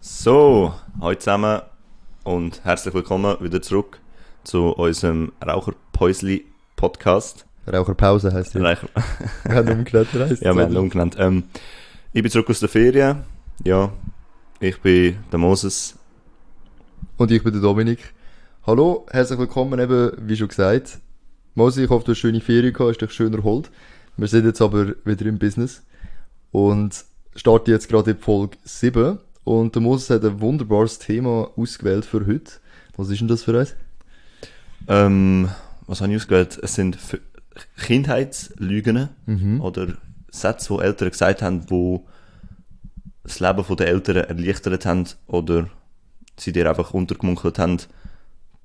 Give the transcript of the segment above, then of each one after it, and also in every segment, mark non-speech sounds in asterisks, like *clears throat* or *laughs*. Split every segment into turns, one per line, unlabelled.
So, hallo zusammen und herzlich willkommen wieder zurück zu unserem Raucherpäusli-Podcast.
Raucherpause heisst die.
Rauch-
*laughs* Wir haben umgenannt, heisst
Ja, wir haben ihn umgenannt. Ähm, ich bin zurück aus der Ferien. Ja, ich bin der Moses.
Und ich bin der Dominik. Hallo, herzlich willkommen eben, wie schon gesagt. Mosi, ich hoffe, du hast schöne Ferien gehabt, hast dich schön erholt. Wir sind jetzt aber wieder im Business und starten jetzt gerade in Folge 7. Und der Moses hat ein wunderbares Thema ausgewählt für heute. Was ist denn das für eins?
Ähm, was habe ich ausgewählt? Es sind F- Kindheitslügen oder Sätze, die Eltern gesagt haben, die das Leben der Eltern erleichtert haben oder sie dir einfach untergemunkelt haben,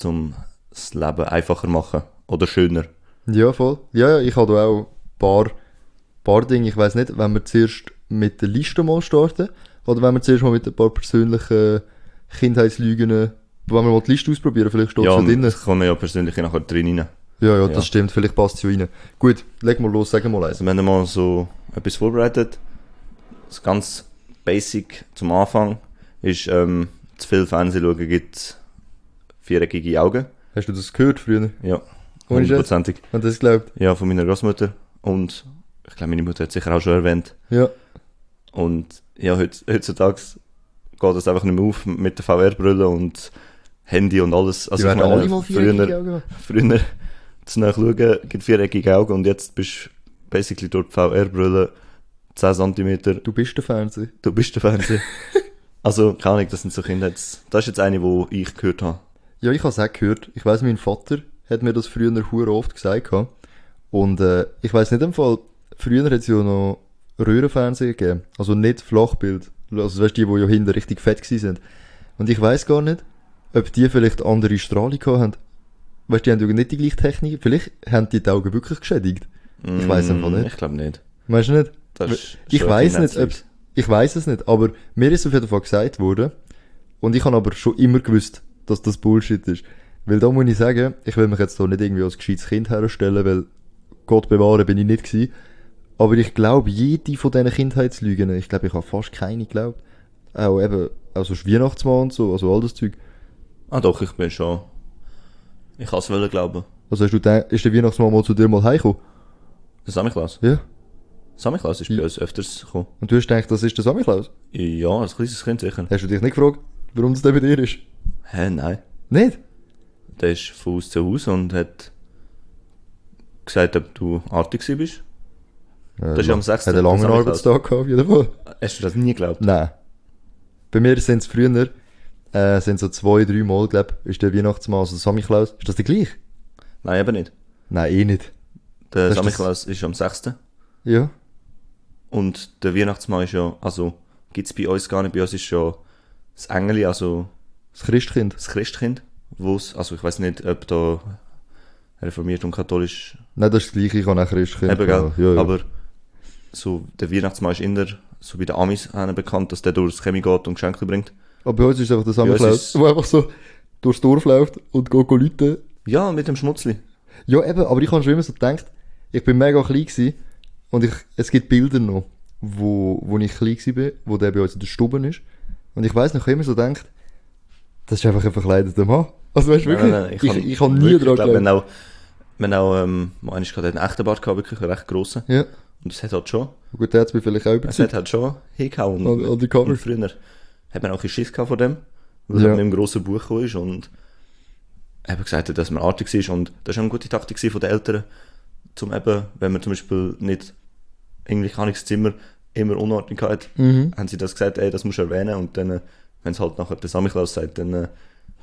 um das Leben einfacher machen oder schöner.
Ja, voll. Ja, ja, ich habe da auch ein paar, paar Dinge. Ich weiß nicht, wenn wir zuerst mit der Liste mal starten oder wenn wir zuerst mal mit ein paar persönlichen Kindheitslügen, wenn wir mal die Liste ausprobieren, vielleicht steht es
ja,
schon drin.
das kann man ja persönlich nachher drin rein.
Ja, ja,
Ja.
das stimmt. Vielleicht passt es ja rein. Gut, leg mal los, sag mal eins.
Also wir haben mal so etwas vorbereitet. Das ganz basic zum Anfang ist, ähm, zu viel Fernsehen schauen gibt viereckige Augen.
Hast du das gehört früher?
Ja,
Ohne Scheiß.
hundertprozentig.
Wenn das glaubt.
Ja, von meiner Großmutter. Und ich glaube, meine Mutter hat es sicher auch schon erwähnt.
Ja.
Und ja, heutz, heutzutage geht das einfach nicht mehr auf mit der VR-Brille und Handy und alles.
Die
Also
werden alle mal
früher,
vier
früher zu nahe schauen, gibt viereckige Augen und jetzt bist du basically durch die VR-Brille 10 cm
Du bist der Fernseher.
Du bist der
*laughs*
Fernseher. also, keine Ahnung, das sind so Kinder. Jetzt, das ist jetzt eine, wo ich gehört habe.
Ja, ich habe es auch gehört. Ich weiß, mein Vater hat mir das früher hure oft gesagt. gehabt. Und äh, ich weiß nicht im Fall, früher hat es ja noch Röhrenfernsehen gegeben. Also nicht Flachbild. Also weißt du, die, die ja hinten richtig fett gewesen sind. Und ich weiß gar nicht, ob die vielleicht andere Strahlung gehabt haben. Weißt du, die haben ja nicht die gleiche Technik. Vielleicht haben die die Augen wirklich geschädigt. Ich weiß einfach
Mm,
nicht.
Ich glaube nicht.
Weißt du nicht?
Das ist
ich
schon
weiß nicht, ob,
kindheitlich.
ich weiß es nicht, aber mir ist auf jeden Fall gesagt worden und ich habe aber schon immer gewusst, dass das Bullshit ist. Weil da muss ich sagen, ich will mich jetzt hier nicht irgendwie als gescheites Kind herstellen, weil Gott bewahre bin ich nicht gewesen. Aber ich glaube, jede von diesen Kindheitslügen, ich glaube, ich habe fast keine geglaubt. Auch eben, also Weihnachtsmann und so, also all das Zeug.
Ah, doch, ich bin schon. Ich kann es wollen glauben.
Also hast du den, ist der Weihnachtsmann mal zu dir mal heimgekommen?
Der Samichlaus.
Ja.
Samichlaus
Hm.
ist bei uns öfters gekommen.
Und du hast gedacht, das ist der Samichlaus?
Ja, als kleines Kind sicher.
Hast du dich nicht gefragt, warum das der bei dir ist?
Hä, nein.
Nicht?
Der ist von Haus zu Haus und hat gesagt, ob du artig gewesen bist.
Das
ist am 6.
Äh, Hat einen langen
Das hab ich
Arbeitstag gehabt, auf jeden Fall.
Hast du das nie geglaubt?
Nein. Bei mir sind es früher, äh, sind so zwei, drei Mal, glaub, ist der Weihnachtsmann, also der Samichlaus. Ist das der gleiche?
Nein, eben nicht.
Nein, eh nicht.
Der
Hast du das-
Samichlaus ist am 6.
Ja.
Und der Weihnachtsmann ist ja, also gibt's bei uns gar nicht, bei uns ist ja das Engeli, also
Das Christkind.
das Christkind, wo's, also ich weiß nicht, ob da reformiert und katholisch,
Nein, das ist das gleiche, ich habe auch Christkind.
eben, gell?
gehabt. Ja, ja.
aber so der Weihnachtsmann ist immer so bei den Amis haben bekannt, dass der durchs Chemie geht und Geschenke bringt.
Aber bei uns ist es einfach der
uns
Samichlaus,
ist-
der einfach so durchs Dorf läuft und geht go Leute.
Ja, mit dem Schmutzli.
Ja, eben, aber ich habe schon immer so gedacht, ich bin mega klein gewesen und ich, es gibt Bilder noch, wo, wo ich klein gewesen bin, wo der bei uns in der Stube ist. Und ich weiss noch, ich habe immer so gedacht, das ist einfach ein verkleideter Mann. Also weißt du wirklich, ich, ich, habe nie
wirklich,
dran
ich glaub, Wir haben
gedacht.
auch, wir haben auch ähm, mal einmal gerade einen echten Bart gehabt, wirklich einen recht grossen.
Ja, Also
Und das hat halt schon,
gut, der hat mich vielleicht auch
es hat
überzeugt.
Oh, halt schon hingehauen.
An- an die Cover.
Und früher hat man auch ein Schiss gehabt von dem, weil
Ja.
er mit einem grossen Buch gekommen ist und eben gesagt hat, dass man artig ist und das war eine gute Taktik gewesen von den Eltern, zum eben, wenn man zum Beispiel nicht irgendwie kann ich Zimmer immer Unordnung hat, haben sie das gesagt, ey, das musst du erwähnen und dann, wenn es halt nachher der Samichlaus sagt, dann äh,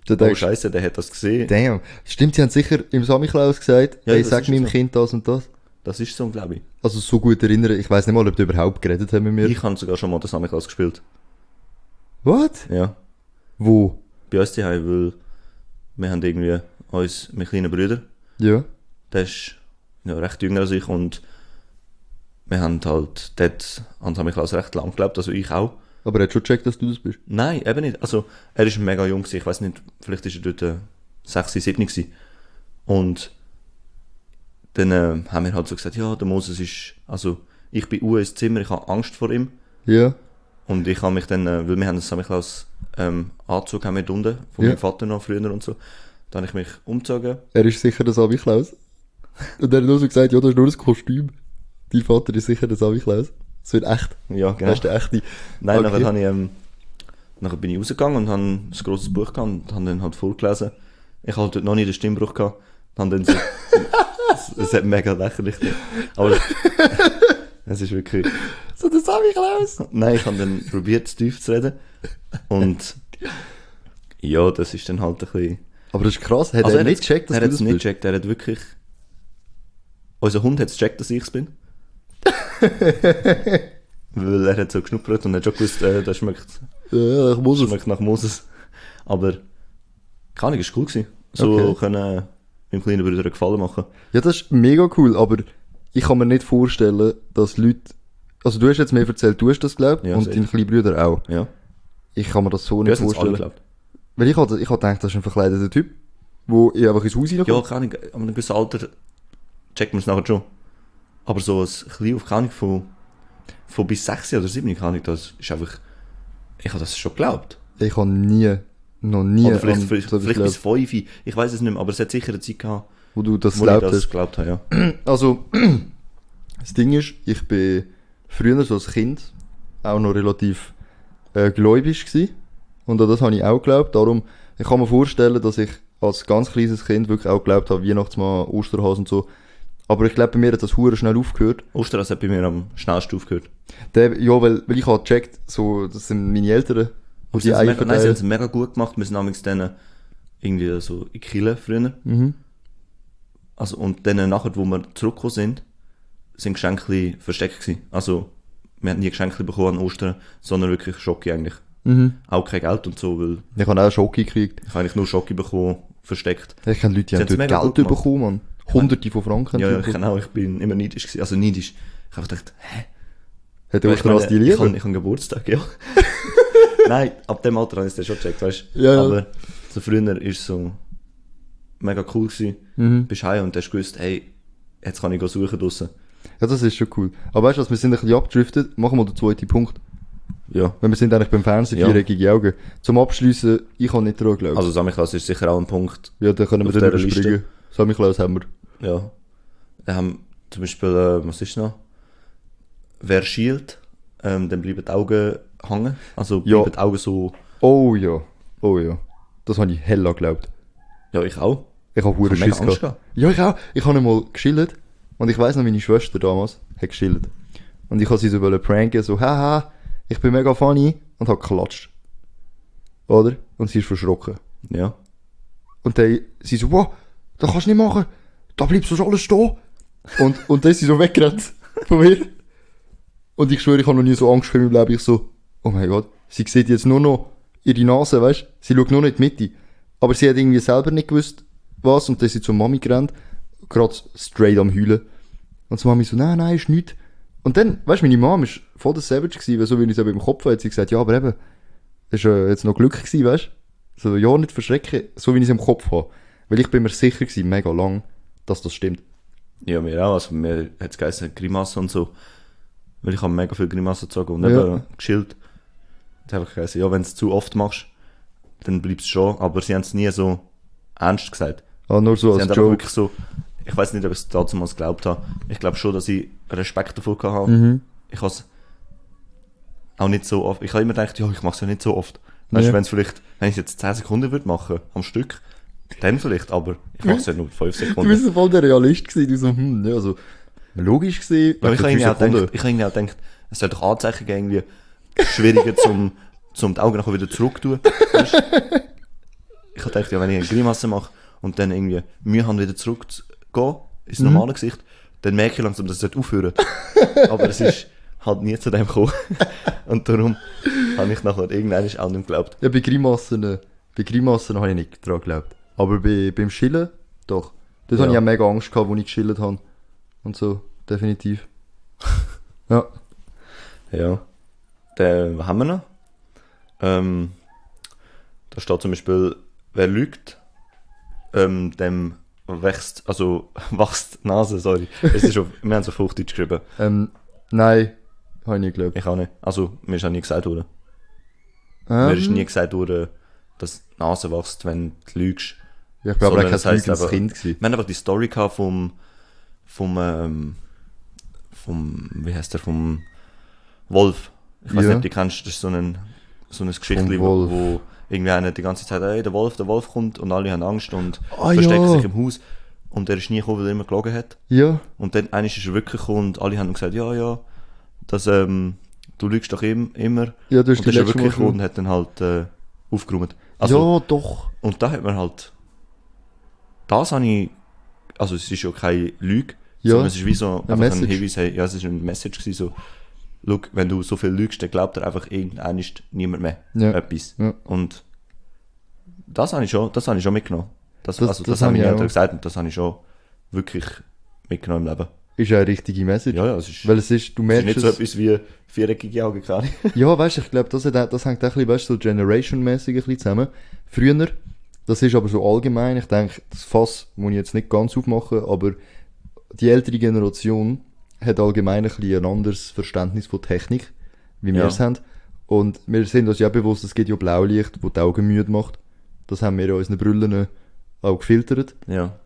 Dann
oh
denkst du,
scheiße, der hat das gesehen,
damn. Stimmt, sie haben sicher im Samichlaus gesagt,
Ja,
ey,
das
sag
ist
meinem
so.
Kind das und das.
das ist so, glaube ich.
Also so gut erinnern, ich weiss nicht mal, ob die überhaupt geredet haben mit mir.
Ich habe sogar schon mal den Samichlaus gespielt,
What?
ja.
Wo?
bei uns zu Hause, weil wir haben irgendwie uns, mein kleiner Bruder,
Ja.
der ist ja, recht jünger als ich und wir haben halt dort an Sammy Klaus recht lang gelebt, also ich auch.
Aber er hat schon gecheckt, dass du das bist.
Nein, eben nicht. Also er ist mega jung, gewesen. ich weiß nicht, vielleicht ist er dort äh, 6, 7 gewesen. Und dann äh, haben wir halt so gesagt, ja, der Moses ist, also ich bin Uhr ins Zimmer, ich habe Angst vor ihm.
Ja.
Und ich habe mich dann, äh, weil wir haben einen St. Nikolaus ähm, Anzug haben wir unten, von
Ja.
meinem Vater noch früher und so. Da habe ich mich umgezogen.
Er ist sicher der Savi Klaus. Und er hat nur so gesagt, ja, das ist nur ein Kostüm. Dein Vater ist sicher der Savi Klaus. Das wird echt.
Ja,
Das ist der echte.
Nein,
Okay.
nachher, habe ich, ähm, nachher bin ich rausgegangen und habe ein grosses Buch gehabt und habe dann halt vorgelesen. Ich hatte dort noch nie den Stimmbruch gehabt. Habe dann so,
*laughs*
es, es hat mega lächerlich gedacht. Aber *laughs* es ist wirklich...
So der Savi Klaus.
Nein, ich habe dann probiert, zu tief zu reden. Und ja, das ist dann halt ein bisschen...
Aber das ist krass. Hat Also er
hat's-
nicht gecheckt, dass
er
du
hat's
das
nicht
bist?
gecheckt, er hat wirklich... Unser Hund hat es gecheckt, dass ich es
*laughs*
bin. Weil er hat so geschnuppert und hat schon gewusst, äh, das schmeckt...
Ja, ja, ich muss
Das
es.
schmeckt nach Moses. Aber keine Ahnung, ist cool gewesen. So
Okay.
können äh, meinem kleinen Bruder einen Gefallen machen.
Ja, das ist mega cool, aber ich kann mir nicht vorstellen, dass Leute... Also du hast jetzt mir erzählt, du hast das geglaubt
Ja,
und
safe.
dein kleiner Bruder auch.
Ja.
Ich kann mir das so
Du hast
nicht
es alle
vorstellen.
geglaubt.
Weil ich hatte, ich hatte gedacht, das ist ein verkleideter Typ, wo ich einfach ins Haus reinkommt.
Ja, keine Ahnung, an einem gewissen Alter checkt man es nachher schon. Aber so ein klein auf keine Ahnung von, von bis 6 oder 7, keine Ahnung, das ist einfach. Ich habe das schon geglaubt.
Ich habe nie, noch nie
oder vielleicht,
an
vielleicht,
so etwas
vielleicht bis
geglaubt,
5, ich weiß es nicht mehr, aber es hat sicher eine Zeit gehabt,
wo du das
wo ich
geglaubt
das
hast.
geglaubt habe. Ja.
Also, *clears throat* das Ding ist, ich bin früher so als Kind auch noch relativ äh, gläubig gewesen. Und an das habe ich auch geglaubt. Darum, ich kann mir vorstellen, dass ich als ganz kleines Kind wirklich auch geglaubt habe, Weihnachtsmann, Osterhasen und so. Aber ich glaube, bei mir hat das hure schnell aufgehört.
Osterhass hat bei mir am schnellsten aufgehört.
Der, ja, weil, weil ich habe gecheckt, so, das sind meine Eltern, wo
Sie
die
haben
Eier
es mega, nein, sie haben es
verteilen.
mega gut gemacht. Wir sind damals dann äh, irgendwie so in Kiel früher.
Mhm.
Also, und dann nachher, wo wir zurückgekommen sind, sind Geschenke versteckt gewesen. Also, wir haben nie Geschenke bekommen an Ostern, sondern wirklich Schocke eigentlich.
Mhm.
Auch kein Geld und so, weil
Ich habe auch Schock gekriegt.
ich habe eigentlich nur Schocke bekommen, versteckt.
Ich kenne Leute, die
Sie
haben
haben's
dort
mega gut
Geld
gemacht.
bekommen, Mann. Hunderte von Franken.
Ja, ja,
haben die
ich
bekommen.
genau, ich bin immer neidisch gewesen. Also neidisch. Ich habe gedacht, hä?
Hat der
Weil
Osterhasen die
meine, ich
Liebe?
habe, ich habe Geburtstag,
*laughs*
ja. Nein, ab dem Alter habe ich es dann schon gecheckt, weißt du?
Ja, ja.
Aber so früher ist so mega cool gewesen.
Mhm.
Bist heim und hast gewusst, hey, jetzt kann ich gehen suchen draussen.
Ja, das ist schon cool. Aber weißt du was, wir sind ein bisschen abgedriftet. Machen wir den zweiten Punkt.
Ja.
Weil wir sind eigentlich beim Fernsehen,
Ja.
viereckige Augen. Zum Abschliessen, ich habe nicht daran geglaubt.
Also Samichlaus ist sicher auch ein Punkt,
ja, dann können wir
auf
den
dieser
überspringen.
Liste.
Samichlaus haben wir.
Ja. Wir haben zum Beispiel, äh, was ist noch? Wer schielt, ähm, dann bleiben die Augen hängen. Also
Ja.
bleiben die Augen so.
Oh ja, oh ja. Das habe ich hella geglaubt.
Ja, ich auch.
Ich habe hure
Ich hab mega
Schiss
Angst
gehabt. Ja, ich auch. Ich habe mal geschillt. Und ich weiss noch, meine Schwester damals hat geschillt. Und ich habe sie so wollen pranken, so, haha, ich bin mega funny. Und habe geklatscht. Oder? Und sie ist verschrocken.
Ja.
Und dann, sie so, wow, das kannst du nicht machen. Da bleibt sonst alles stehen. Und, und dann ist sie so weggerannt von mir. Und ich schwöre, ich habe noch nie so Angst gehabt in meinem Leben. Ich so, oh mein Gott, sie sieht jetzt nur noch ihre Nase, weißt Sie schaut nur noch in die Mitte. Aber sie hat irgendwie selber nicht gewusst, was. Und dann ist sie zur Mami gerannt. Gerade straight am Heulen. Und die Mami so, nein, nein, ist nichts. Und dann, weißt du, meine Mom ist voll der Savage gewesen, weil so wie ich es eben im Kopf hatte, hat sie gesagt, ja, aber eben, ist äh, jetzt noch Glück gewesen, weißt du? So, ja, nicht verschrecken, so wie ich es im Kopf habe. Weil ich bin mir sicher gewesen, mega lang, dass das stimmt.
Ja, mir auch. Also mir hat es geheißen, Grimassen und so. Weil ich habe mega viel Grimassen gezogen und
Ja.
eben geschielt. Da habe ich geheißen, ja, wenn du es zu oft machst, dann bleibst du schon. Aber sie haben es nie so ernst gesagt.
Ah, nur
Sie haben
so als
einfach
Joke.
wirklich so, ich weiß nicht, ob ich es damals geglaubt habe. Ich glaube schon, dass ich Respekt davor gehabt habe.
Mhm.
Ich habe es auch nicht so oft. Ich habe immer gedacht, ja, ich mache es ja nicht so oft. Weißt
Ja.
du, wenn es vielleicht, wenn ich es jetzt 10 Sekunden würde machen am Stück, dann vielleicht, aber ich mache es ja nur 5
Du
Sekunden.
bist voll der Realist gewesen, du so, hm, ja, also, logisch gesehen.
Ja, aber ich habe irgendwie, auch gedacht- ich habe irgendwie auch gedacht, es soll doch Anzeichen geben, irgendwie schwieriger zum, zum die Augen nachher wieder zurück tun. Weisst du? Ich habe gedacht, ja, wenn ich eine Grimasse mache und dann irgendwie Mühe habe, wieder zurück zu gehen, ins normale Gesicht, dann merke ich langsam, dass es dort aufhören Aber es ist halt nie zu dem gekommen. Und darum habe ich nachher irgendwann auch nicht geglaubt.
Ja, bei Grimassen, äh, bei Grimassen habe ich nicht dran geglaubt. Aber bei, beim Chillen, doch. Dort
Ja.
habe ich auch mega Angst gehabt, wo ich geschillt habe. Und so, definitiv. *laughs* ja.
Ja. Dann, was haben wir noch? Ähm, da steht zum Beispiel, wer lügt, ähm, dem wächst, *laughs* also wachst die Nase, sorry. Es ist auf, wir haben es auf Hochdeutsch geschrieben.
Ähm, nein, Habe ich nie geglaubt.
Ich auch nicht. Also, mir ist auch nie gesagt worden. Mir ist
Ähm,
nie gesagt worden, dass die Nase wächst, wenn du lügst.
ja, ich glaube, er
sondern es
war kein
heisst
lügendes
aber-
Kind. Gewesen.
Wir haben einfach die Story gehabt vom, vom, ähm, vom, wie heißt der, vom Wolf. Ich weiß
Ja.
nicht, ob du kennst, das ist so ein, so ein Geschichtli, wo,
Wolf.
wo irgendwie einer die ganze Zeit, hey, der Wolf, der Wolf kommt und alle haben Angst und
Ah,
verstecken
ja.
sich im Haus. Und er ist nie gekommen, weil er immer gelogen hat.
Ja,
Und dann eines ist er wirklich gekommen und alle haben gesagt, ja, ja, das, ähm, du lügst doch im, immer.
ja, du hast
Und dann
die
ist er
letzte
wirklich
Mal
gekommen
schon...
und hat dann halt äh, aufgeräumt. Also,
ja, doch.
und da hat man halt. Das habe ich. Also, es ist ja keine Lüge,
Ja.
sondern es ist wie so einfach
Eine
ein
Message.
Hinweis, hey, ja, es ist eine Message gewesen, so. Look, wenn du so viel lügst, dann glaubt dir einfach irgendwann ist niemand mehr
Ja.
etwas.
Ja.
Und das habe ich schon, das habe ich schon mitgenommen. Das,
Das-
also, das,
das
haben
habe ich
meine Eltern
auch.
gesagt und das habe ich schon wirklich mitgenommen im Leben.
Ist ja eine richtige Message.
Ja, ja, es ist,
Weil es ist,
es
du
ist
merkst
nicht so
es...
etwas wie viereckige Augen, keine
*laughs*
Ahnung.
Ja, weißt du, ich glaube, das, hat auch- das hängt auch ein bisschen, weißt, du, so generation-mäßig ein bisschen zusammen. Früher, das ist aber so allgemein, ich denke, das Fass muss ich jetzt nicht ganz aufmachen, aber die ältere Generation hat allgemein ein bisschen ein anderes Verständnis von Technik, wie wir
Ja.
es haben. Und wir sind uns ja bewusst, es gibt ja Blaulicht, wo die Augen müde macht. Das haben wir ja in unseren Brillen auch gefiltert
Ja.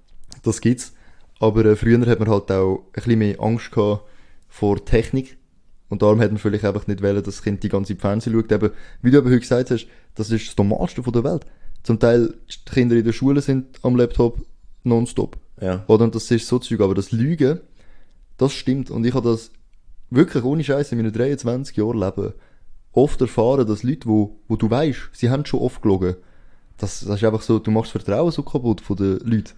das gibt's. Aber äh, früher hat man halt auch ein bisschen mehr Angst gehabt vor Technik. Und darum hat man vielleicht einfach nicht wollen, dass das Kind die ganze Zeit Fernsehen schaut. Eben, wie du aber heute gesagt hast, das ist das Normalste von der Welt. Zum Teil sind die Kinder in der Schule sind am Laptop nonstop.
Ja.
Oder? Und das ist so Zeug. Aber das Lügen, das stimmt. Und ich habe das wirklich ohne Scheiß in meinen 23 Jahren Leben oft erfahren, dass Leute, wo, wo du weißt, sie haben schon oft gelogen. Das, das ist einfach so, du machst das Vertrauen so kaputt von den Leuten.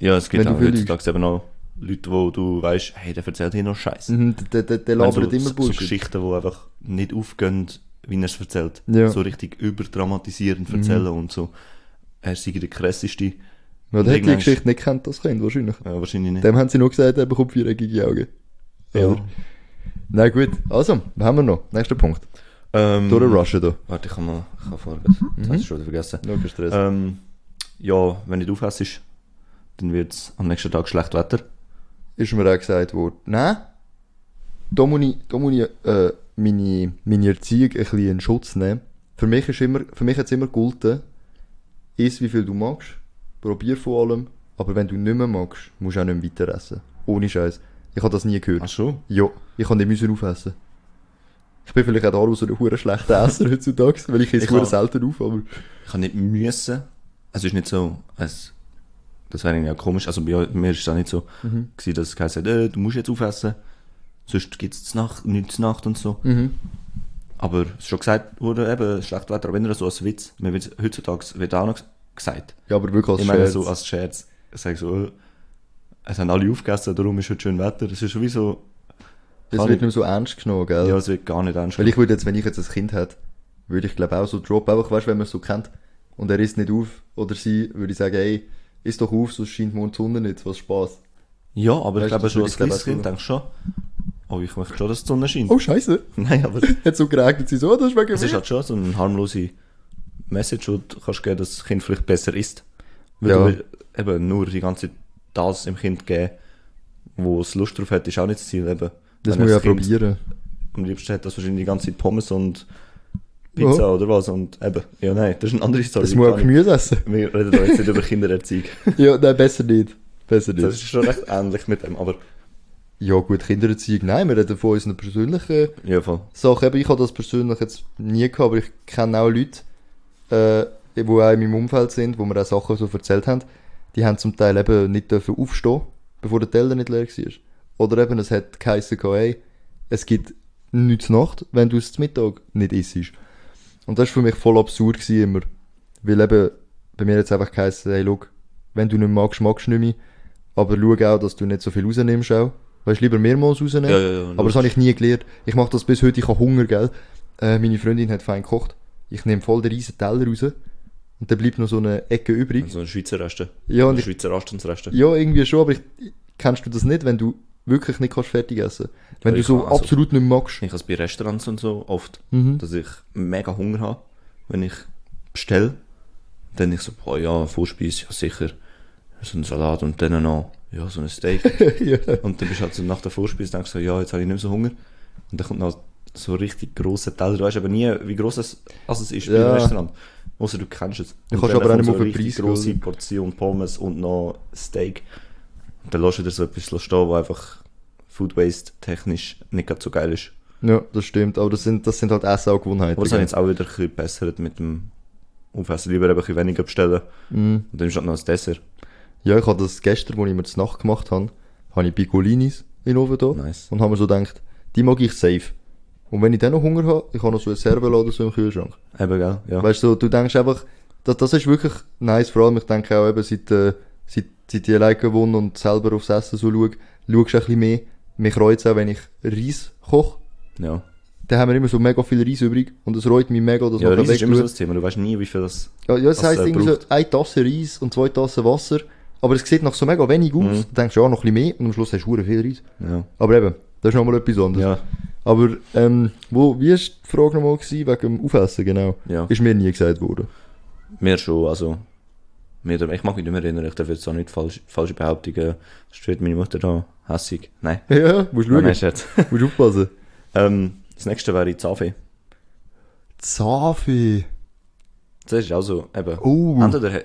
Ja, es gibt
Wenn du
auch
viel
heutzutage eben auch Leute, wo du weißt, hey, der erzählt hier noch Scheiße.
Mhm, der, der, der
Wenn so,
labert immer
Also so, so
Bullshit.
Geschichten, die einfach nicht aufgehen, wie er es erzählt.
Ja. Mhm.
So richtig überdramatisierend erzählen und so. Er sei der krasseste.
ja,
Und
der hat die
irgendwann-
Geschichte nicht kennt, das Kind wahrscheinlich.
Ja, wahrscheinlich nicht.
Dem haben sie nur gesagt, er bekommt viereckige Augen.
Ja.
Oder? Na gut, also, was haben wir noch? Nächster Punkt.
Ähm,
Durch den Rushen da.
Warte, ich kann mal ich kann vorgehen.
Mhm.
Das hast du schon wieder vergessen.
No Stress.
Ähm, ja, wenn du nicht aufhässst, dann wird es am nächsten Tag schlecht Wetter.
Ist mir auch gesagt worden. Nein, da muss ich, da muss ich äh, meine, meine Erziehung ein bisschen in Schutz nehmen. Für mich, ist immer, für mich hat es immer geholfen, iss wie viel du magst, probier vor allem, aber wenn du nicht mehr magst, musst du auch nicht mehr weiter essen. Ohne Scheiß. Ich habe das nie gehört.
so?
Ja, ich kann nicht müssen aufessen. Ich bin vielleicht auch daraus ein hure schlechter Esser *laughs* heutzutage, weil ich esse
Ich
hure
auch.
selten auf, aber
Ich kann nicht müssen. Also, Es ist nicht so, als, das wäre ja komisch. Also bei mir ist es auch nicht so,
Mhm.
gewesen, dass es geheißen hat, äh, du musst jetzt aufessen. Sonst gibt es Nacht, nichts zu Nacht und so. Aber es ist schon gesagt wurde, eben, schlecht Wetter, aber immer so als Witz. Mir wird's, heutzutage wird auch noch gs- gesagt.
ja, aber wirklich als
ich meine,
Scherz.
so als Scherz. Ich sage so, äh, es haben alle aufgegessen, darum ist heute schön Wetter. Es ist schon wie so,
das
kann
wird nicht
ich-
mehr so ernst genommen, gell?
ja, es wird gar nicht ernst.
Weil ich würde jetzt, wenn ich jetzt ein Kind hätte, würde ich glaube auch so drop, einfach weißt, wenn man es so kennt und er isst nicht auf oder sie, würde ich sagen, ey, iss doch auf, sonst scheint morgen die Sonne nicht, was Spaß.
Ja, aber
Weißt du,
ich glaube
das
schon
würde
als
ich glaube
kleines
auch
Kind
so.
denkst du schon, oh, ich möchte schon, dass die Sonne scheint.
Oh Scheiße,
*laughs* Nein,
*laughs*
aber
hat so geregnet, sie so, oh, das ist wegen
es ist
mir.
halt schon so eine harmlose Message, die du kannst geben, dass das Kind vielleicht besser isst. Weil
Ja.
du will- eben nur die ganze Zeit das im Kind geben, wo es Lust drauf hat, ist auch nicht das Ziel. Eben.
Das
Wenn
muss ich ja
Kind
probieren.
Am liebsten hat das wahrscheinlich die ganze Zeit Pommes und Pizza oder was und eben, ja nein, das ist eine andere Story.
Das muss auch
Keine Ahnung.
Gemüse
*laughs*
essen.
Wir reden da jetzt nicht über
*laughs*
Kindererziehung.
ja, nein, besser nicht. Besser nicht.
Das ist schon recht ähnlich mit dem, aber
Ja gut, Kindererziehung, nein, wir reden von unseren persönlichen
ja voll.
Sachen. Eben, ich habe das persönlich jetzt nie gehabt, aber ich kenne auch Leute, äh, die auch in meinem Umfeld sind, wo mir auch Sachen so erzählt haben, die haben zum Teil eben nicht dürfen aufstehen, bevor der Teller nicht leer war. Oder eben, es hat geheissen, gehabt, hey, es gibt nichts zu Nacht, wenn du es zu Mittag nicht isst. Und das war für mich voll absurd gewesen, immer. Weil eben, bei mir jetzt einfach geheißen, hey, schau, wenn du nicht magst, magst du nicht mehr. Aber schau auch, dass du nicht so viel rausnimmst auch. Weißt du, lieber mehrmals rausnehmen.
Ja, ja, ja,
aber das habe ich nie gelernt. Ich mache das bis heute, ich habe Hunger, gell. Äh, meine Freundin hat fein gekocht. Ich nehme voll den riesen Teller raus. Und dann bleibt noch so eine Ecke übrig.
So ein Schweizer Reste.
Ja, und ich,
Schweizer Rastensreste.
ja, irgendwie schon, aber ich, kennst du das nicht, wenn du wirklich nicht kannst fertig essen? Wenn
Ja,
du
ich
so
kann, also-
absolut nicht magst.
Ich habe es bei Restaurants und so oft,
Mhm.
dass ich mega Hunger habe, wenn ich bestelle. Dann ich so, boah, ja, Vorspeis, ja sicher. So ein Salat und dann noch, ja, so ein Steak.
ja. *laughs*
und dann bist du halt so nach der Vorspeis denkst du so, ja, jetzt habe ich nicht mehr so Hunger. Und dann kommt noch so ein richtig grosser Teller. Du weißt aber nie, wie gross es, also es ist bei
Ja.
einem Restaurant. Außer du kennst es.
Du
Und
kannst
dann
aber auch
kommt
nicht
so
auf den
eine richtig
Preis
grosse
schauen.
Portion Pommes und noch Steak. Und dann lässt du wieder so etwas stehen, wo einfach Food Waste technisch nicht ganz so geil ist.
Ja, das stimmt. Aber das sind, das sind halt Essen auch Gewohnheiten.
Aber das haben
gell?
jetzt auch wieder ein bisschen gebessert mit dem Aufessen. Lieber eben ein bisschen weniger bestellen. Und dann ist halt noch ein Dessert.
Ja, ich habe das gestern, wo ich mir das Nacht gemacht habe, habe ich Piccolinis in den Ofen da
Nice.
und habe mir so gedacht, die mag ich safe. Und wenn ich dann noch Hunger habe, ich habe noch so eine Servela oder so im Kühlschrank.
Eben, gell? Ja.
Weißt du, du denkst einfach, das, das ist wirklich nice, vor allem ich denke auch eben, seit, äh, seit, seit ich alleine gewohnt und selber aufs Essen so schaue, schaust du ein bisschen mehr. Mich reut es auch, wenn ich Reis koche.
ja.
Dann haben wir immer so mega viel Reis übrig und es reut mich mega, dass
Ja,
man
Reis ist
wegtut.
immer so das Thema. Du weißt nie, wie viel das...
Ja, ja es
was äh,
heisst
er
irgendwie so
braucht.
eine Tasse Reis und zwei Tassen Wasser. Aber es sieht nach so mega wenig aus.
Mhm.
Du denkst, ja, noch ein bisschen mehr und am Schluss hast du verdammt viel Reis.
Ja.
Aber eben, das ist nochmal etwas anderes.
Ja.
Aber ähm, wo, wie war die Frage nochmal gewesen, wegen dem Aufessen, genau?
Ja.
Ist mir nie gesagt worden. *laughs*
Mir schon, also... Mir, darf- ich mag mich nicht mehr erinnern, ich darf jetzt auch nicht falsch, falsche Behauptungen... Sonst wird meine Mutter da hässig. Nein,
Ja, musst
nein,
schauen,
nein, Scherz. *laughs*
musst aufpassen.
ähm, das nächste wäre Zafi.
Zafi.
Das ist auch so, eben...
Oh.
Entweder... he-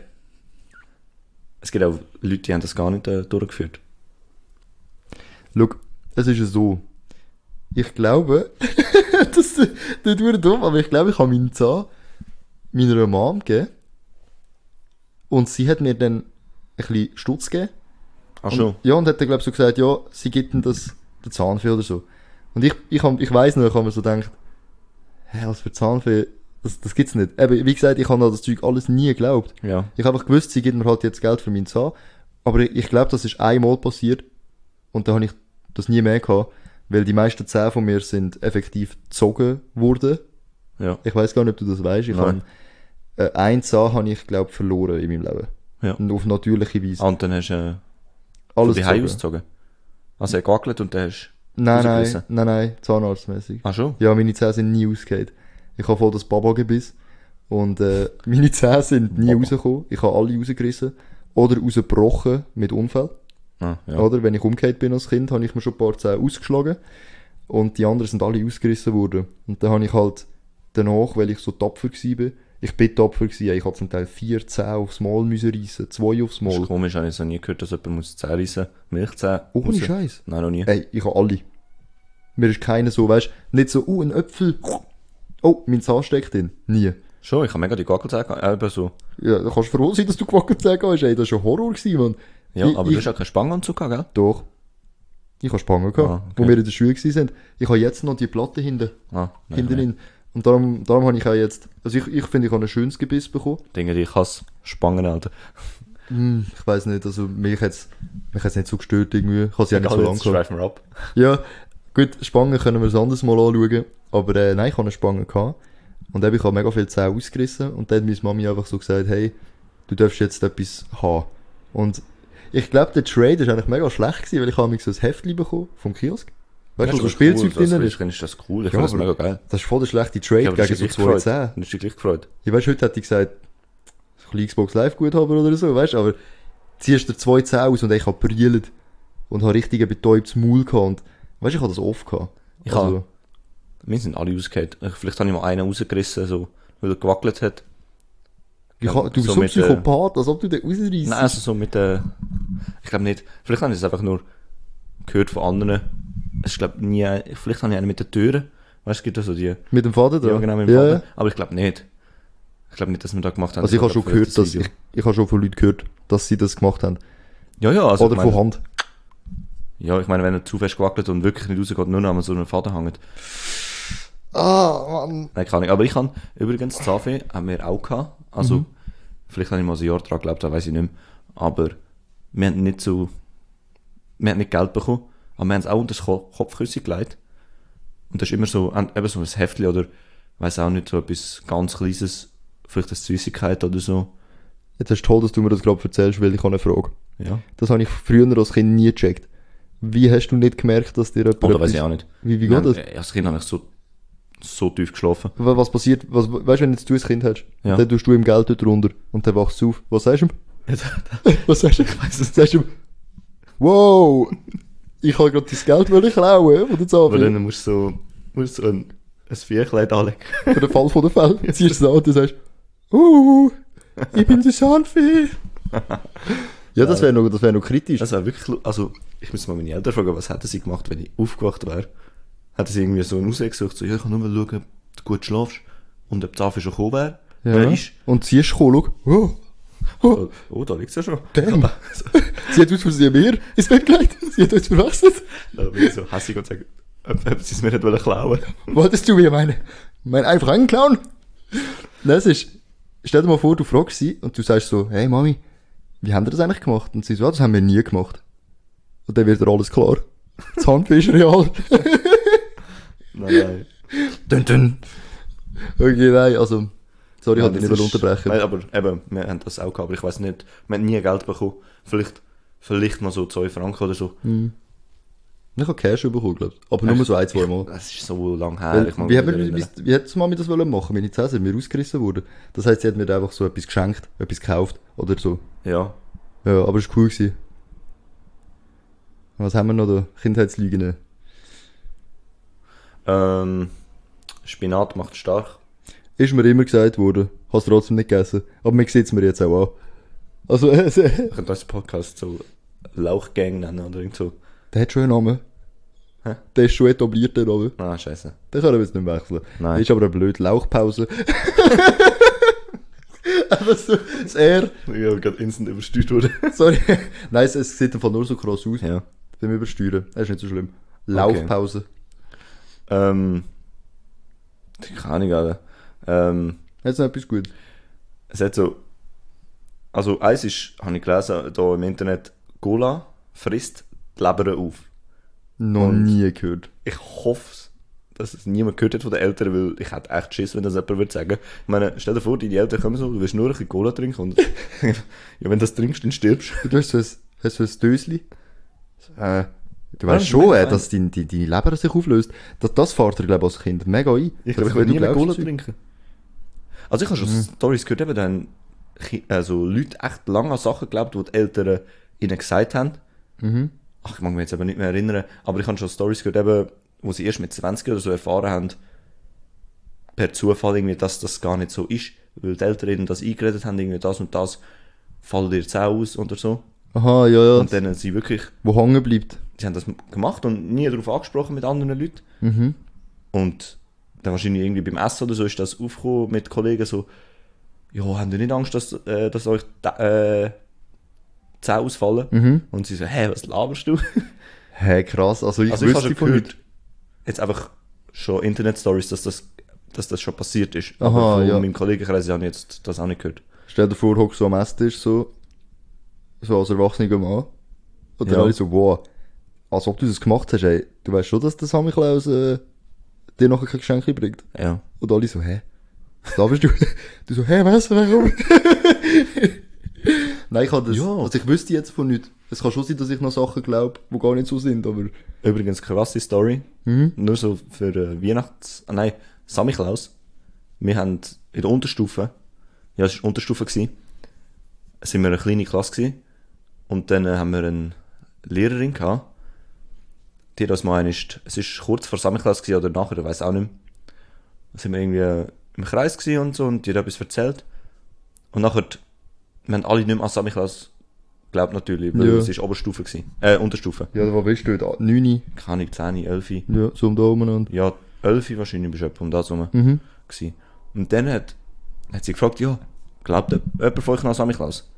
Es gibt auch Leute, die haben das gar nicht äh, durchgeführt.
Schau, es ist ja so. Ich glaube, *laughs* das, das tut dumm, aber ich glaube, ich habe meinen Zahn meiner Mom gegeben. Und sie hat mir dann ein bisschen Stutz gegeben.
Ach
Und, ja, und hat dann, glaube ich, so gesagt, ja, sie gibt ihm das, den Zahnfee oder so. Und ich, ich, hab- ich weiss noch, ich habe mir so gedacht, hä, was für Zahnfee, das, das gibt's nicht. Eben, wie gesagt, ich habe an das Zeug alles nie geglaubt.
Ja.
Ich habe einfach gewusst, sie gibt mir halt jetzt Geld für meinen Zahn. Aber ich, ich glaube, das ist einmal passiert. Und da habe ich das nie mehr gehabt, weil die meisten Zähne von mir sind effektiv gezogen worden.
Ja.
Ich weiß gar nicht, ob du das weißt. Ich habe
Nein.
äh, einen Zahn habe ich glaube verloren in meinem Leben.
Ja.
Und auf natürliche Weise.
Ah, Und dann hast du... Äh,
Alles
Alles die Haie
gezogen.
ausgezogen. Also er gackelt und dann hast du...
Nein, nein,
rausgerissen.
nein, nein, zahnarztmäßig.
Ach schon?
Ja, meine Zähne sind nie ausgeht. Ich habe voll das Baba-Gebiss. Und äh, *laughs* meine Zähne sind nie
Baba.
rausgekommen. Ich habe alle rausgerissen. Oder rausgebrochen mit Unfall.
Ah, ja.
Oder wenn ich umgekehrt bin als Kind, habe ich mir schon ein paar Zähne ausgeschlagen. Und die anderen sind alle ausgerissen worden. Und dann habe ich halt danach, weil ich so tapfer war, ich bin tapfer gewesen, ich habe zum Teil vier Zähne aufs Mal müssen reissen, zwei aufs
Das
Mal.
ist komisch, habe ich so nie gehört, dass jemand muss Zähne reissen muss. Milchzähne.
Ohne
raus.
Scheiß.
Nein, noch nie.
Ey, ich habe alle. Mir ist keiner so, weißt du, nicht so, uh, ein Äpfel. Oh, mein Zahn steckt drin. Nie.
Schon, ich habe mega die Gackelzähne gehabt. Eben so.
Ja, da kannst du froh sein, dass du gewackelt hast. Ey, das war ein Horror, gewesen, Mann.
Ja,
ich,
aber
ich,
du hast auch keinen Spanganzug gehabt, gell?
Doch. Ich habe Spangen gehabt,
Ah, okay.
wo wir in der Schule waren. Ich habe jetzt noch die Platte hinten.
Ah, nein,
hinten
nein.
hin. Und darum, darum habe ich auch jetzt. Also ich, ich finde, ich habe ein schönes Gebiss bekommen.
Dinge, die ich hasse. Spangen, Alter. Mhm.
Hm, ich weiß nicht, also mich hat's mich hat's nicht so gestört irgendwie. Ich habe sie ja nicht so
Egal,
lange
jetzt
gehabt.
schweifen wir ab.
Ja, gut, Spangen können wir es anders mal anschauen. Aber äh, nein, ich habe eine Spange gehabt. Und eben, ich habe mega viel Zähne ausgerissen. Und dann hat meine Mami einfach so gesagt, hey, du darfst jetzt etwas haben. Und ich glaube, der Trade ist eigentlich mega schlecht gewesen, weil ich habe mich so ein Heftchen bekommen vom Kiosk. Weißt du, wo so Spielzeug
cool,
drinnen ist?
Kind ist das cool. Ich
Ja,
finde das
aber-
mega geil.
Das ist voll der schlechte Trade
aber das
gegen
ist
so
dich
zwei
gefreut.
Zähne.
Dann ist dich gleich gefreut.
Ich weiß, heute hätte ich gesagt, so ein bisschen Xbox Live Guthaber oder so, weißt du, aber ziehst dir zwei Zähne aus und ich habe brillt und habe richtig ein betäubtes Maul gehabt und, weißt du, ich habe das oft gehabt. Also,
Ich habe- Wir sind alle ausgehört. Ich- Vielleicht habe ich mal einen rausgerissen, so, weil er gewackelt hat.
ich hab, du
so
bist so ein
mit, äh,
Psychopath, als ob du den rausreißt.
Nein, also so mit der. ich glaube nicht. Vielleicht habe ich es einfach nur gehört von anderen. Es glaube nie. Vielleicht habe ich einen mit der Türe. Weißt du, es gibt da so die.
Mit dem Vater dran?
Ja, genau, mit dem
ja.
Vader. Aber ich glaube nicht. Ich glaube nicht, dass wir da gemacht haben.
Also ich habe schon
glaub, vielleicht
gehört, dass,
das
ich,
Video.
ich habe schon von Leuten gehört, dass sie das gemacht haben.
Ja, ja, also.
oder
ich
von
meine,
Hand.
ja, ich meine, wenn er zu fest gewackelt und wirklich nicht rausgeht, nur noch an so einem Faden hängt.
Ah, Mann.
Nein, keine Ahnung. Aber ich habe übrigens Zafi haben wir auch gehabt. Also, vielleicht habe ich mal ein Jahr dran geglaubt, das weiß ich nicht mehr. Aber wir haben nicht so. Wir haben nicht Geld bekommen. Aber wir haben es auch unter das Ko- Kopfkissen gelegt. Und das ist immer so, en- eben so ein Heftchen oder, weiß auch nicht, so etwas ganz Kleines. Vielleicht eine Süßigkeit oder so.
Jetzt ist toll, dass du mir das gerade erzählst, weil ich habe eine Frage.
Ja.
Das habe ich früher als Kind nie gecheckt. Wie hast du nicht gemerkt, dass dir jemand
Oder
etwas-
weiß ich auch nicht.
Wie, wie
Wir
geht
haben-
das?
äh, Als Kind habe ich so, so tief geschlafen.
Wa- Was passiert, was, weißt du, wenn jetzt du ein Kind hast,
Ja.
dann tust du ihm Geld dort runter und dann wachst du auf. Was sagst du ihm? *laughs* Was sagst du ihm?
weiß es
Sagst du ihm, wow, ich habe gerade dein Geld wollen klauen von der
Aber
Zahnfee.
dann musst du so musst so ein, ein Vierkleid anlegen.
Für den Fall *laughs* von der Fälle. Ziehst du es an und du sagst, uh, ich bin die Scharfe. *laughs* ja, das wäre noch, das wär noch kritisch.
Das war wirklich, lu- also, ich müsste mal meine Eltern fragen, was hätten sie gemacht, wenn ich aufgewacht wäre? Hätten sie irgendwie so einen Ausweg gesucht, so, ja, ich kann nur mal schauen, ob du gut schlafst und ob die Safi schon gekommen wäre?
ja.
Wer ist?
Und ziehst du komm, schau. Oh, oh,
Oh, oh, da liegt sie ja schon.
damn. *laughs* sie hat aus Versehen mir ins Bett gelegt. Sie hat uns verwechselt.
Da bin ich so hässig und sage, ob, ob sie es mir nicht wollen klauen
Wolltest du mir meine, mein einfach anklauen? Das ist, stell dir mal vor, du fragst sie und du sagst so, hey Mami, wie haben wir das eigentlich gemacht? Und sie so, ah, das haben wir nie gemacht. Und dann wird dir alles klar. *laughs* Das Handfee ist real.
Nein,
*laughs*
nein.
dünn, dünn. Okay, nein, also, sorry, ich
Nein,
wollte dich
das
nicht
ist-
unterbrechen.
Nein, aber eben, wir haben das auch gehabt, aber ich weiß nicht, wir haben nie Geld bekommen. Vielleicht, vielleicht mal so 2 Franken oder so.
Hm. Ich habe Cash bekommen, glaube ich. Aber nur so ein, zwei Mal.
Das ist so lang her.
Weil,
ich mag
wie,
mich
hat
nicht
mir,
erinnern.
wie, wie hat die Mami das wollen machen? Meine Zähne sind mir ausgerissen worden. Das heisst, sie hat mir einfach so etwas geschenkt, etwas gekauft oder so.
Ja.
Ja, aber es war cool. Gewesen. Was haben wir noch da? Kindheitslügen.
Ähm, Spinat macht stark.
Ist mir immer gesagt worden, hast trotzdem nicht gegessen. Aber man sieht es mir jetzt auch an. Also, *laughs* äh,
Ich könnte unseren Podcast so Lauchgang nennen oder irgend so.
der hat schon einen Namen.
Hä?
Der ist schon etabliert, der Name.
Ah, scheiße.
Den können wir jetzt nicht wechseln.
Nein.
Ist aber eine
*laughs*
blöde Lauchpause. *laughs* Einfach so, das R.
Ich habe gerade instant übersteuert worden.
Sorry. *laughs* Nein, es, es sieht einfach nur so krass aus.
ja.
Beim Übersteuern. Das ist nicht so schlimm. Lauchpause.
*laughs* Ähm, keine Ahnung, Alter. Ähm,
Jetzt noch etwas gut.
es hat so, also eins ist, habe ich gelesen, da im Internet, Cola frisst die Leber auf.
Noch nie gehört.
Ich hoffe, dass es niemand gehört hat von den Eltern, weil ich hätte echt Schiss, wenn das jemand würde sagen. Ich meine, stell dir vor, deine Eltern kommen so, du willst nur ein bisschen Cola trinken *laughs* und ja, wenn du das trinkst, dann stirbst du.
Du hast so ein, hast so ein Dösli. Äh, du
das
weißt
ist
schon,
mega
äh,
fein.
dass deine die, die Leber sich auflöst. Das, das fährt dir, glaube ich, als Kind mega ein.
Ich
Das-
glaube, ich würde
wenn
nie
du
mehr Cola
glaubst,
trinken. Also ich habe schon Stories gehört, eben dann also Leute echt lange an Sachen geglaubt, die die Eltern ihnen gesagt haben. Ach, ich mag mich jetzt aber nicht mehr erinnern, aber ich habe schon Stories gehört, eben, wo sie erst mit 20 oder so erfahren haben, per Zufall irgendwie, dass das gar nicht so ist, weil die Eltern ihnen das eingeredet haben, irgendwie das und das, fallen dir jetzt auch aus oder so.
Aha, ja, ja.
Und dann sind sie wirklich
Wo hängen bleibt.
sie haben das gemacht und nie darauf angesprochen mit anderen Leuten.
Mhm.
Und dann wahrscheinlich irgendwie beim Essen oder so ist das aufgekommen mit Kollegen so, ja, haben ihr nicht Angst, dass, äh, dass euch die, äh, die Zähne ausfallen?
Mhm.
Und sie so, hä, was
*laughs*
laberst du?
Hä, krass. Also ich
Also ich habe
wüsste
schon
von
gehört,
heute.
jetzt einfach schon Internet-Stories, dass das, dass das schon passiert ist.
Aha,
Aber von
ja.
meinem Kollegenkreis habe ich jetzt das auch nicht gehört.
Stell dir vor, hockst du am Esstisch so, so als erwachsener Mann. Und dann
Ja.
alle so, wow. Als ob du das gemacht hast, ey. Du weißt schon, dass der Sammy Klaus äh, dir nachher kein Geschenk bringt.
Ja.
Und alle so, hä? Da bist du. Du so, hä, was? *laughs* Warum? Nein, ich habe das.
Ja.
Also ich wüsste jetzt von nichts. Es kann schon sein, dass ich noch Sachen glaube, die gar nicht so sind, aber.
Übrigens, krasse Story. Nur so für äh, Weihnachts... Ah, nein, Samichlaus. Wir haben in der Unterstufe, ja, es war Unterstufe, gewesen, sind wir eine kleine Klasse gewesen. Und dann äh, haben wir eine Lehrerin gehabt, die das mal ist, es ist kurz vor Samichlaus gewesen oder nachher, ich weiß auch nicht mehr. Da sind wir irgendwie äh, im Kreis gewesen und so und die hat etwas erzählt. Und nachher, wir haben alle nicht mehr an Samichlaus geglaubt natürlich, weil
Ja.
es ist Oberstufe gewesen, äh, Unterstufe.
Ja, wo bist du heute? 9.
Keine Ahnung, 10, 11.
Ja, so um da umeinander.
Ja, 11 wahrscheinlich bist du etwa um das rum.
Mhm.
gsi Und dann hat, hat sie gefragt, ja, glaubt jemand- jemand von euch noch an Sammy Klaus?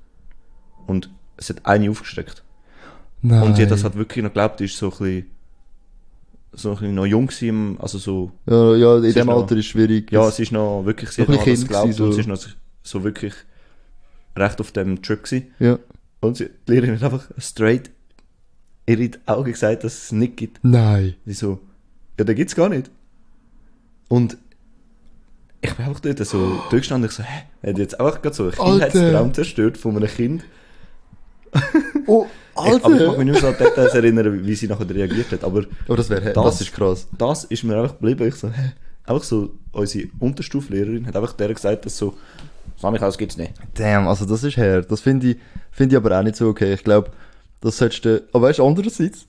Und es hat eine aufgestreckt.
Nein.
Und die hat das halt- hat wirklich noch geglaubt, die ist so ein bisschen, so ein bisschen noch jung gsi im- also so,
ja, ja, in
ist
dem
noch-
Alter ist schwierig.
ja,
das,
es ist noch wirklich, sie
Noch
hat
ein
noch an das
Kind
geglaubt
gsi,
und
so.
sie ist noch so- so wirklich recht auf dem Trip gsi
ja.
Und sie, die Lehrerin hat einfach straight ihr in die Augen gesagt, dass es nicht gibt.
Nein.
Und ich so, ja, den gibt's gar nicht. Und ich bin einfach dort
*gasps*
so durchgestanden, ich so, hä? Er hat jetzt auch gerade so einen
Alter.
Kindheitstraum zerstört von einem Kind.
Oh,
Ich, aber ich mag
Alter!
mich nicht mehr so an Details erinnern, wie sie nachher reagiert hat. Aber
oh, das wäre. Das,
Das-
das ist krass.
das ist mir einfach geblieben. Ich so, hä? Einfach so, unsere Unterstuflehrerin hat einfach der gesagt, dass so, Samichlaus gibt's nicht.
Damn, also das ist her. Das finde ich, finde ich aber auch nicht so okay. Ich glaube, das solltest du. Aber weißt du, andererseits,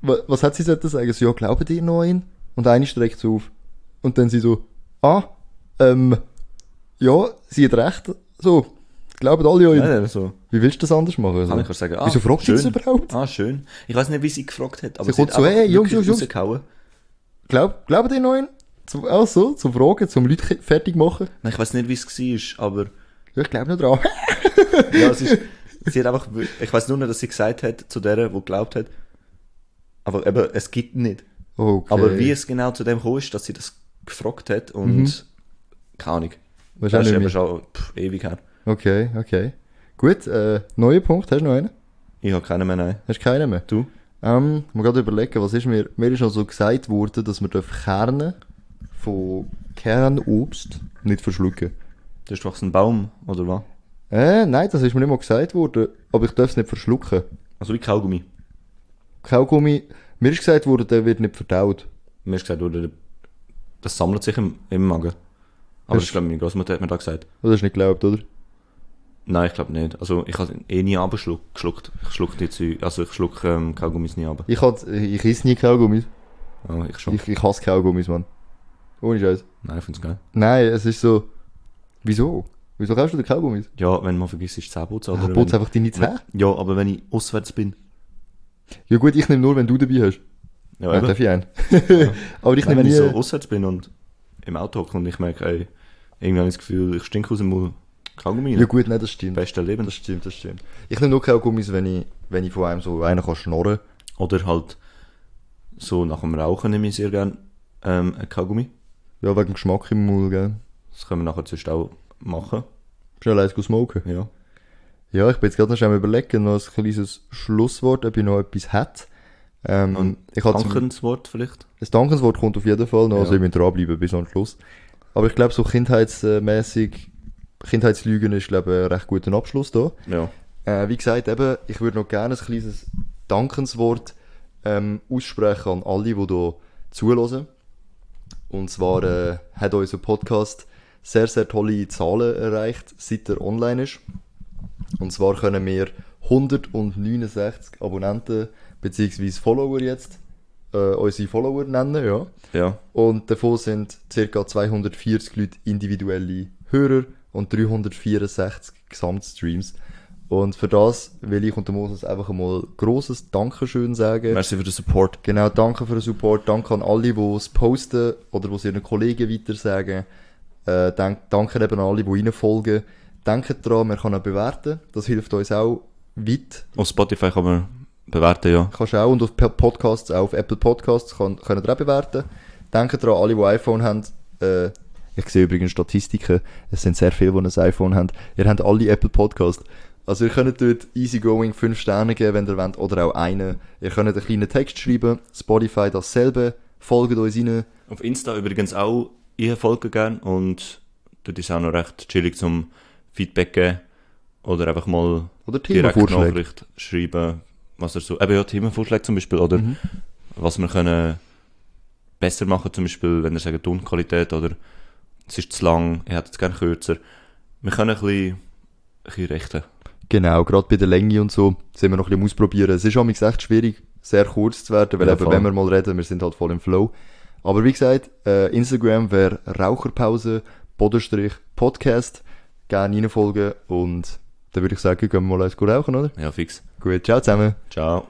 wa- was hat sie sollten sagen? So, ja, glauben die noch an ihn? Und eine streckt sie auf. Und dann sie so, ah, ähm, ja, sie hat recht. So, glauben alle euch.
Nein, nein, so.
Wie willst du das anders machen? Also,
Kann ich auch sagen, ah,
Wieso fragst
schön.
du das überhaupt?
Ah, schön. Ich weiß nicht, wie sie gefragt hat, aber
Sie kommt
hat
so,
einfach
hey, Jungs,
wirklich
Jungs, Jungs.
rausgehauen.
Glaub, glaubt ihr noch einen? Zum, auch so, zum Fragen, zum Leute ke- fertig machen?
Nein, ich weiß nicht, wie es war, aber
Ja, ich glaube noch dran. *laughs*
ja, es ist, sie hat einfach, wir- ich weiß nur noch, dass sie gesagt hat zu der, die geglaubt hat, aber eben, es gibt nicht.
Okay.
Aber wie es genau zu dem gekommen ist, dass sie das gefragt hat und keine Ahnung.
Weißt du
Das ist
auch Mhm. nicht
eben
mehr.
schon pff, ewig her.
Okay, okay. Gut, äh, neuer Punkt, hast du noch einen?
Ich habe keinen mehr, nein.
Hast du keinen mehr?
Du?
Ähm, ich muss gerade überlegen, was ist mir, mir ist noch so gesagt worden, dass man darf Kerne von Kernobst nicht verschlucken.
Du hast doch einen Baum, oder was?
Äh, nein, das ist mir nicht mal gesagt worden, aber ich darf es nicht verschlucken.
Also wie Kaugummi.
Kaugummi, mir ist gesagt worden, der wird nicht verdaut.
Mir hast gesagt, oder, das sammelt sich im, im Magen. Aber
Das-
ich glaube, meine Großmutter hat mir da gesagt.
Das hast du nicht geglaubt, oder?
Nein, ich glaube nicht. Also ich habe eh nie abgeschluckt. Ich schluck die Zeug, also ich schluck ähm, Kaugummis nie ab.
Ich, hat, ich esse nie Kaugummis.
Oh, ich schon.
Ich, ich hasse Kaugummis, Mann. Ohne Scheiß.
Nein, ich finde es geil.
Nein, es ist so. Wieso? Wieso kaufst du den Kaugummis?
Ja, wenn man vergisst, ist Zähneputzen.
Ah,
oder
putz
wenn,
einfach deine Zähne.
ja, aber wenn ich auswärts bin.
Ja gut, ich nehme nur, wenn du dabei hast.
Ja,
Nein,
eben.
darf ich *laughs* einen. aber ich
Nein,
nehme
wenn
nie...
ich so auswärts bin und im Auto hocke und ich merke, ey, irgendwann habe ich das Gefühl, ich stinke aus dem Mund. Kaugummi.
Ja
Ja,
gut, nein, das stimmt.
Beste Leben.
Das stimmt, das stimmt. Ich nehme nur Kaugummis, wenn ich, wenn ich von einem so einen kann schnorren kann.
Oder halt so nach dem Rauchen nehme ich sehr gerne ähm, ein Kaugummi.
Ja, wegen dem Geschmack im Mund, gell.
Das können wir nachher sonst auch machen.
Schnell eins smoken.
Ja.
Ja, ich bin jetzt gerade noch schnell am überlegen, noch ein kleines Schlusswort, ob ich noch etwas hätte. Ähm, ich hatte zum-
Dankenswort vielleicht.
Das Dankenswort kommt auf jeden Fall noch, also
Ja.
ich muss dranbleiben bis am Schluss. Aber ich glaube, so kindheitsmäßig, Kindheitslügen ist, glaube ich, ein recht guter Abschluss da.
Ja.
Äh, wie gesagt, eben, ich würde noch gerne ein kleines Dankenswort ähm, aussprechen an alle, die hier zulassen. Und zwar äh, hat unser Podcast sehr, sehr tolle Zahlen erreicht, seit er online ist. Und zwar können wir 169 Abonnenten bzw. Follower jetzt äh, unsere Follower nennen, ja.
Ja.
Und davon sind ca. 240 Leute individuelle Hörer und 364 Gesamtstreams. Und für das will ich und der Moses einfach einmal grosses Dankeschön sagen.
Merci für den Support.
Genau, danke für den Support. Danke an alle, die es posten oder die es ihren Kollegen weitersagen. Äh, dank, danke eben an alle, die reinfolgen. Denkt daran, man kann auch bewerten. Das hilft uns auch weit.
Auf Spotify kann man bewerten, ja.
Kannst du auch und auf P- Podcasts, auch auf Apple Podcasts kann, können ihr auch bewerten. Denkt daran, alle, die iPhone haben, äh, ich sehe übrigens Statistiken, es sind sehr viele, die ein iPhone haben. Ihr habt alle Apple Podcasts. Also ihr könnt dort easygoing 5 Sterne geben, wenn ihr wollt, oder auch einen. Ihr könnt einen kleinen Text schreiben, Spotify dasselbe, folgt uns rein.
Auf Insta übrigens auch. Ich folge gerne und dort ist auch noch recht chillig zum Feedback geben. Oder einfach mal
Oder
direkt
Themenvorschläge.
Nachricht schreiben, was er so... Eben ja, Themenvorschläge zum Beispiel. Oder
Mhm.
was wir können besser machen zum Beispiel, wenn ihr sagt Tonqualität oder es ist zu lang, ihr hättet es gerne kürzer. Wir können ein bisschen, ein bisschen richten.
Genau, gerade bei der Länge und so sind wir noch ein bisschen am ausprobieren. Es ist auch echt schwierig, sehr kurz zu werden, weil
Ja,
eben,
voll.
wenn wir mal reden, wir sind halt voll im Flow. Aber wie gesagt, äh, Instagram wäre Raucherpause, Bodenstrich, Podcast. Gerne reinfolgen und dann würde ich sagen, gehen wir mal eins gut rauchen, oder?
Ja, fix.
Gut, ciao zusammen.
Ciao.